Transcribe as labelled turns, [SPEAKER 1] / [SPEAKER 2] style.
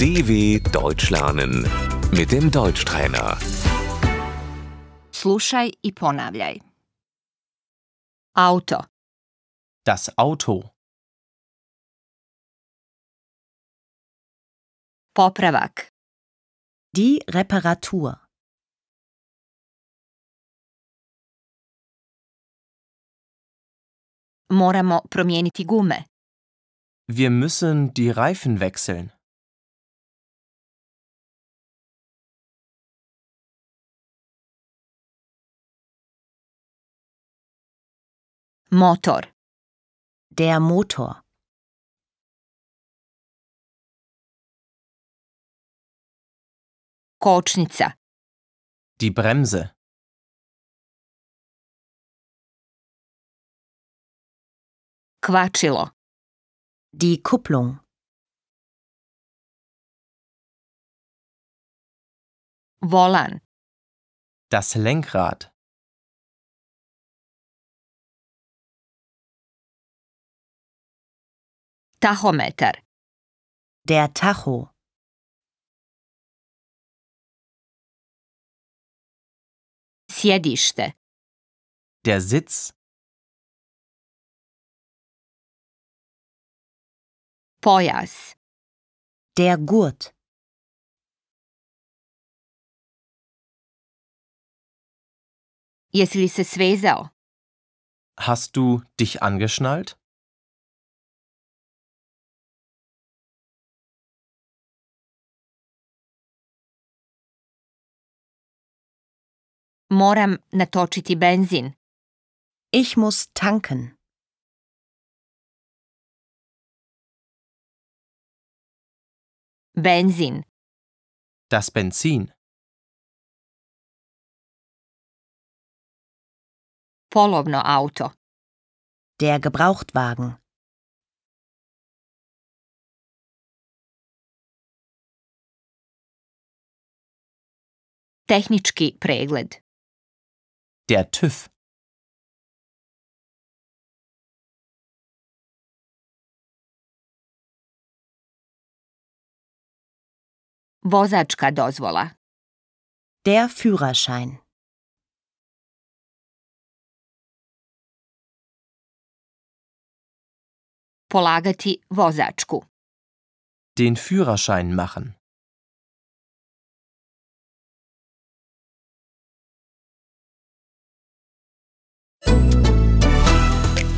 [SPEAKER 1] DW Deutsch lernen mit dem Deutschtrainer.
[SPEAKER 2] Slušaj i ponavljaj. Auto,
[SPEAKER 3] Das Auto.
[SPEAKER 2] popravak,
[SPEAKER 4] Die Reparatur.
[SPEAKER 2] moramo promijeniti gume,
[SPEAKER 3] Wir müssen die Reifen wechseln.
[SPEAKER 2] motor,
[SPEAKER 4] Der Motor.
[SPEAKER 2] kočnica,
[SPEAKER 3] Die Bremse.
[SPEAKER 2] kvačilo,
[SPEAKER 4] Die Kupplung.
[SPEAKER 2] volan,
[SPEAKER 3] Das Lenkrad.
[SPEAKER 2] tahometar,
[SPEAKER 4] Der Tacho.
[SPEAKER 2] sjedište,
[SPEAKER 3] Der Sitz.
[SPEAKER 2] pojas,
[SPEAKER 4] Der Gurt.
[SPEAKER 2] jesi li se svezao,
[SPEAKER 3] Hast du dich angeschnallt?
[SPEAKER 2] moram natočiti benzin,
[SPEAKER 4] Ich muss tanken.
[SPEAKER 2] benzin,
[SPEAKER 3] Das Benzin.
[SPEAKER 2] polovno auto,
[SPEAKER 4] Der Gebrauchtwagen.
[SPEAKER 2] tehnički pregled,
[SPEAKER 3] Der TÜV.
[SPEAKER 2] vozačka dozvola,
[SPEAKER 4] Der Führerschein.
[SPEAKER 2] polagati vozačku,
[SPEAKER 3] Den Führerschein machen.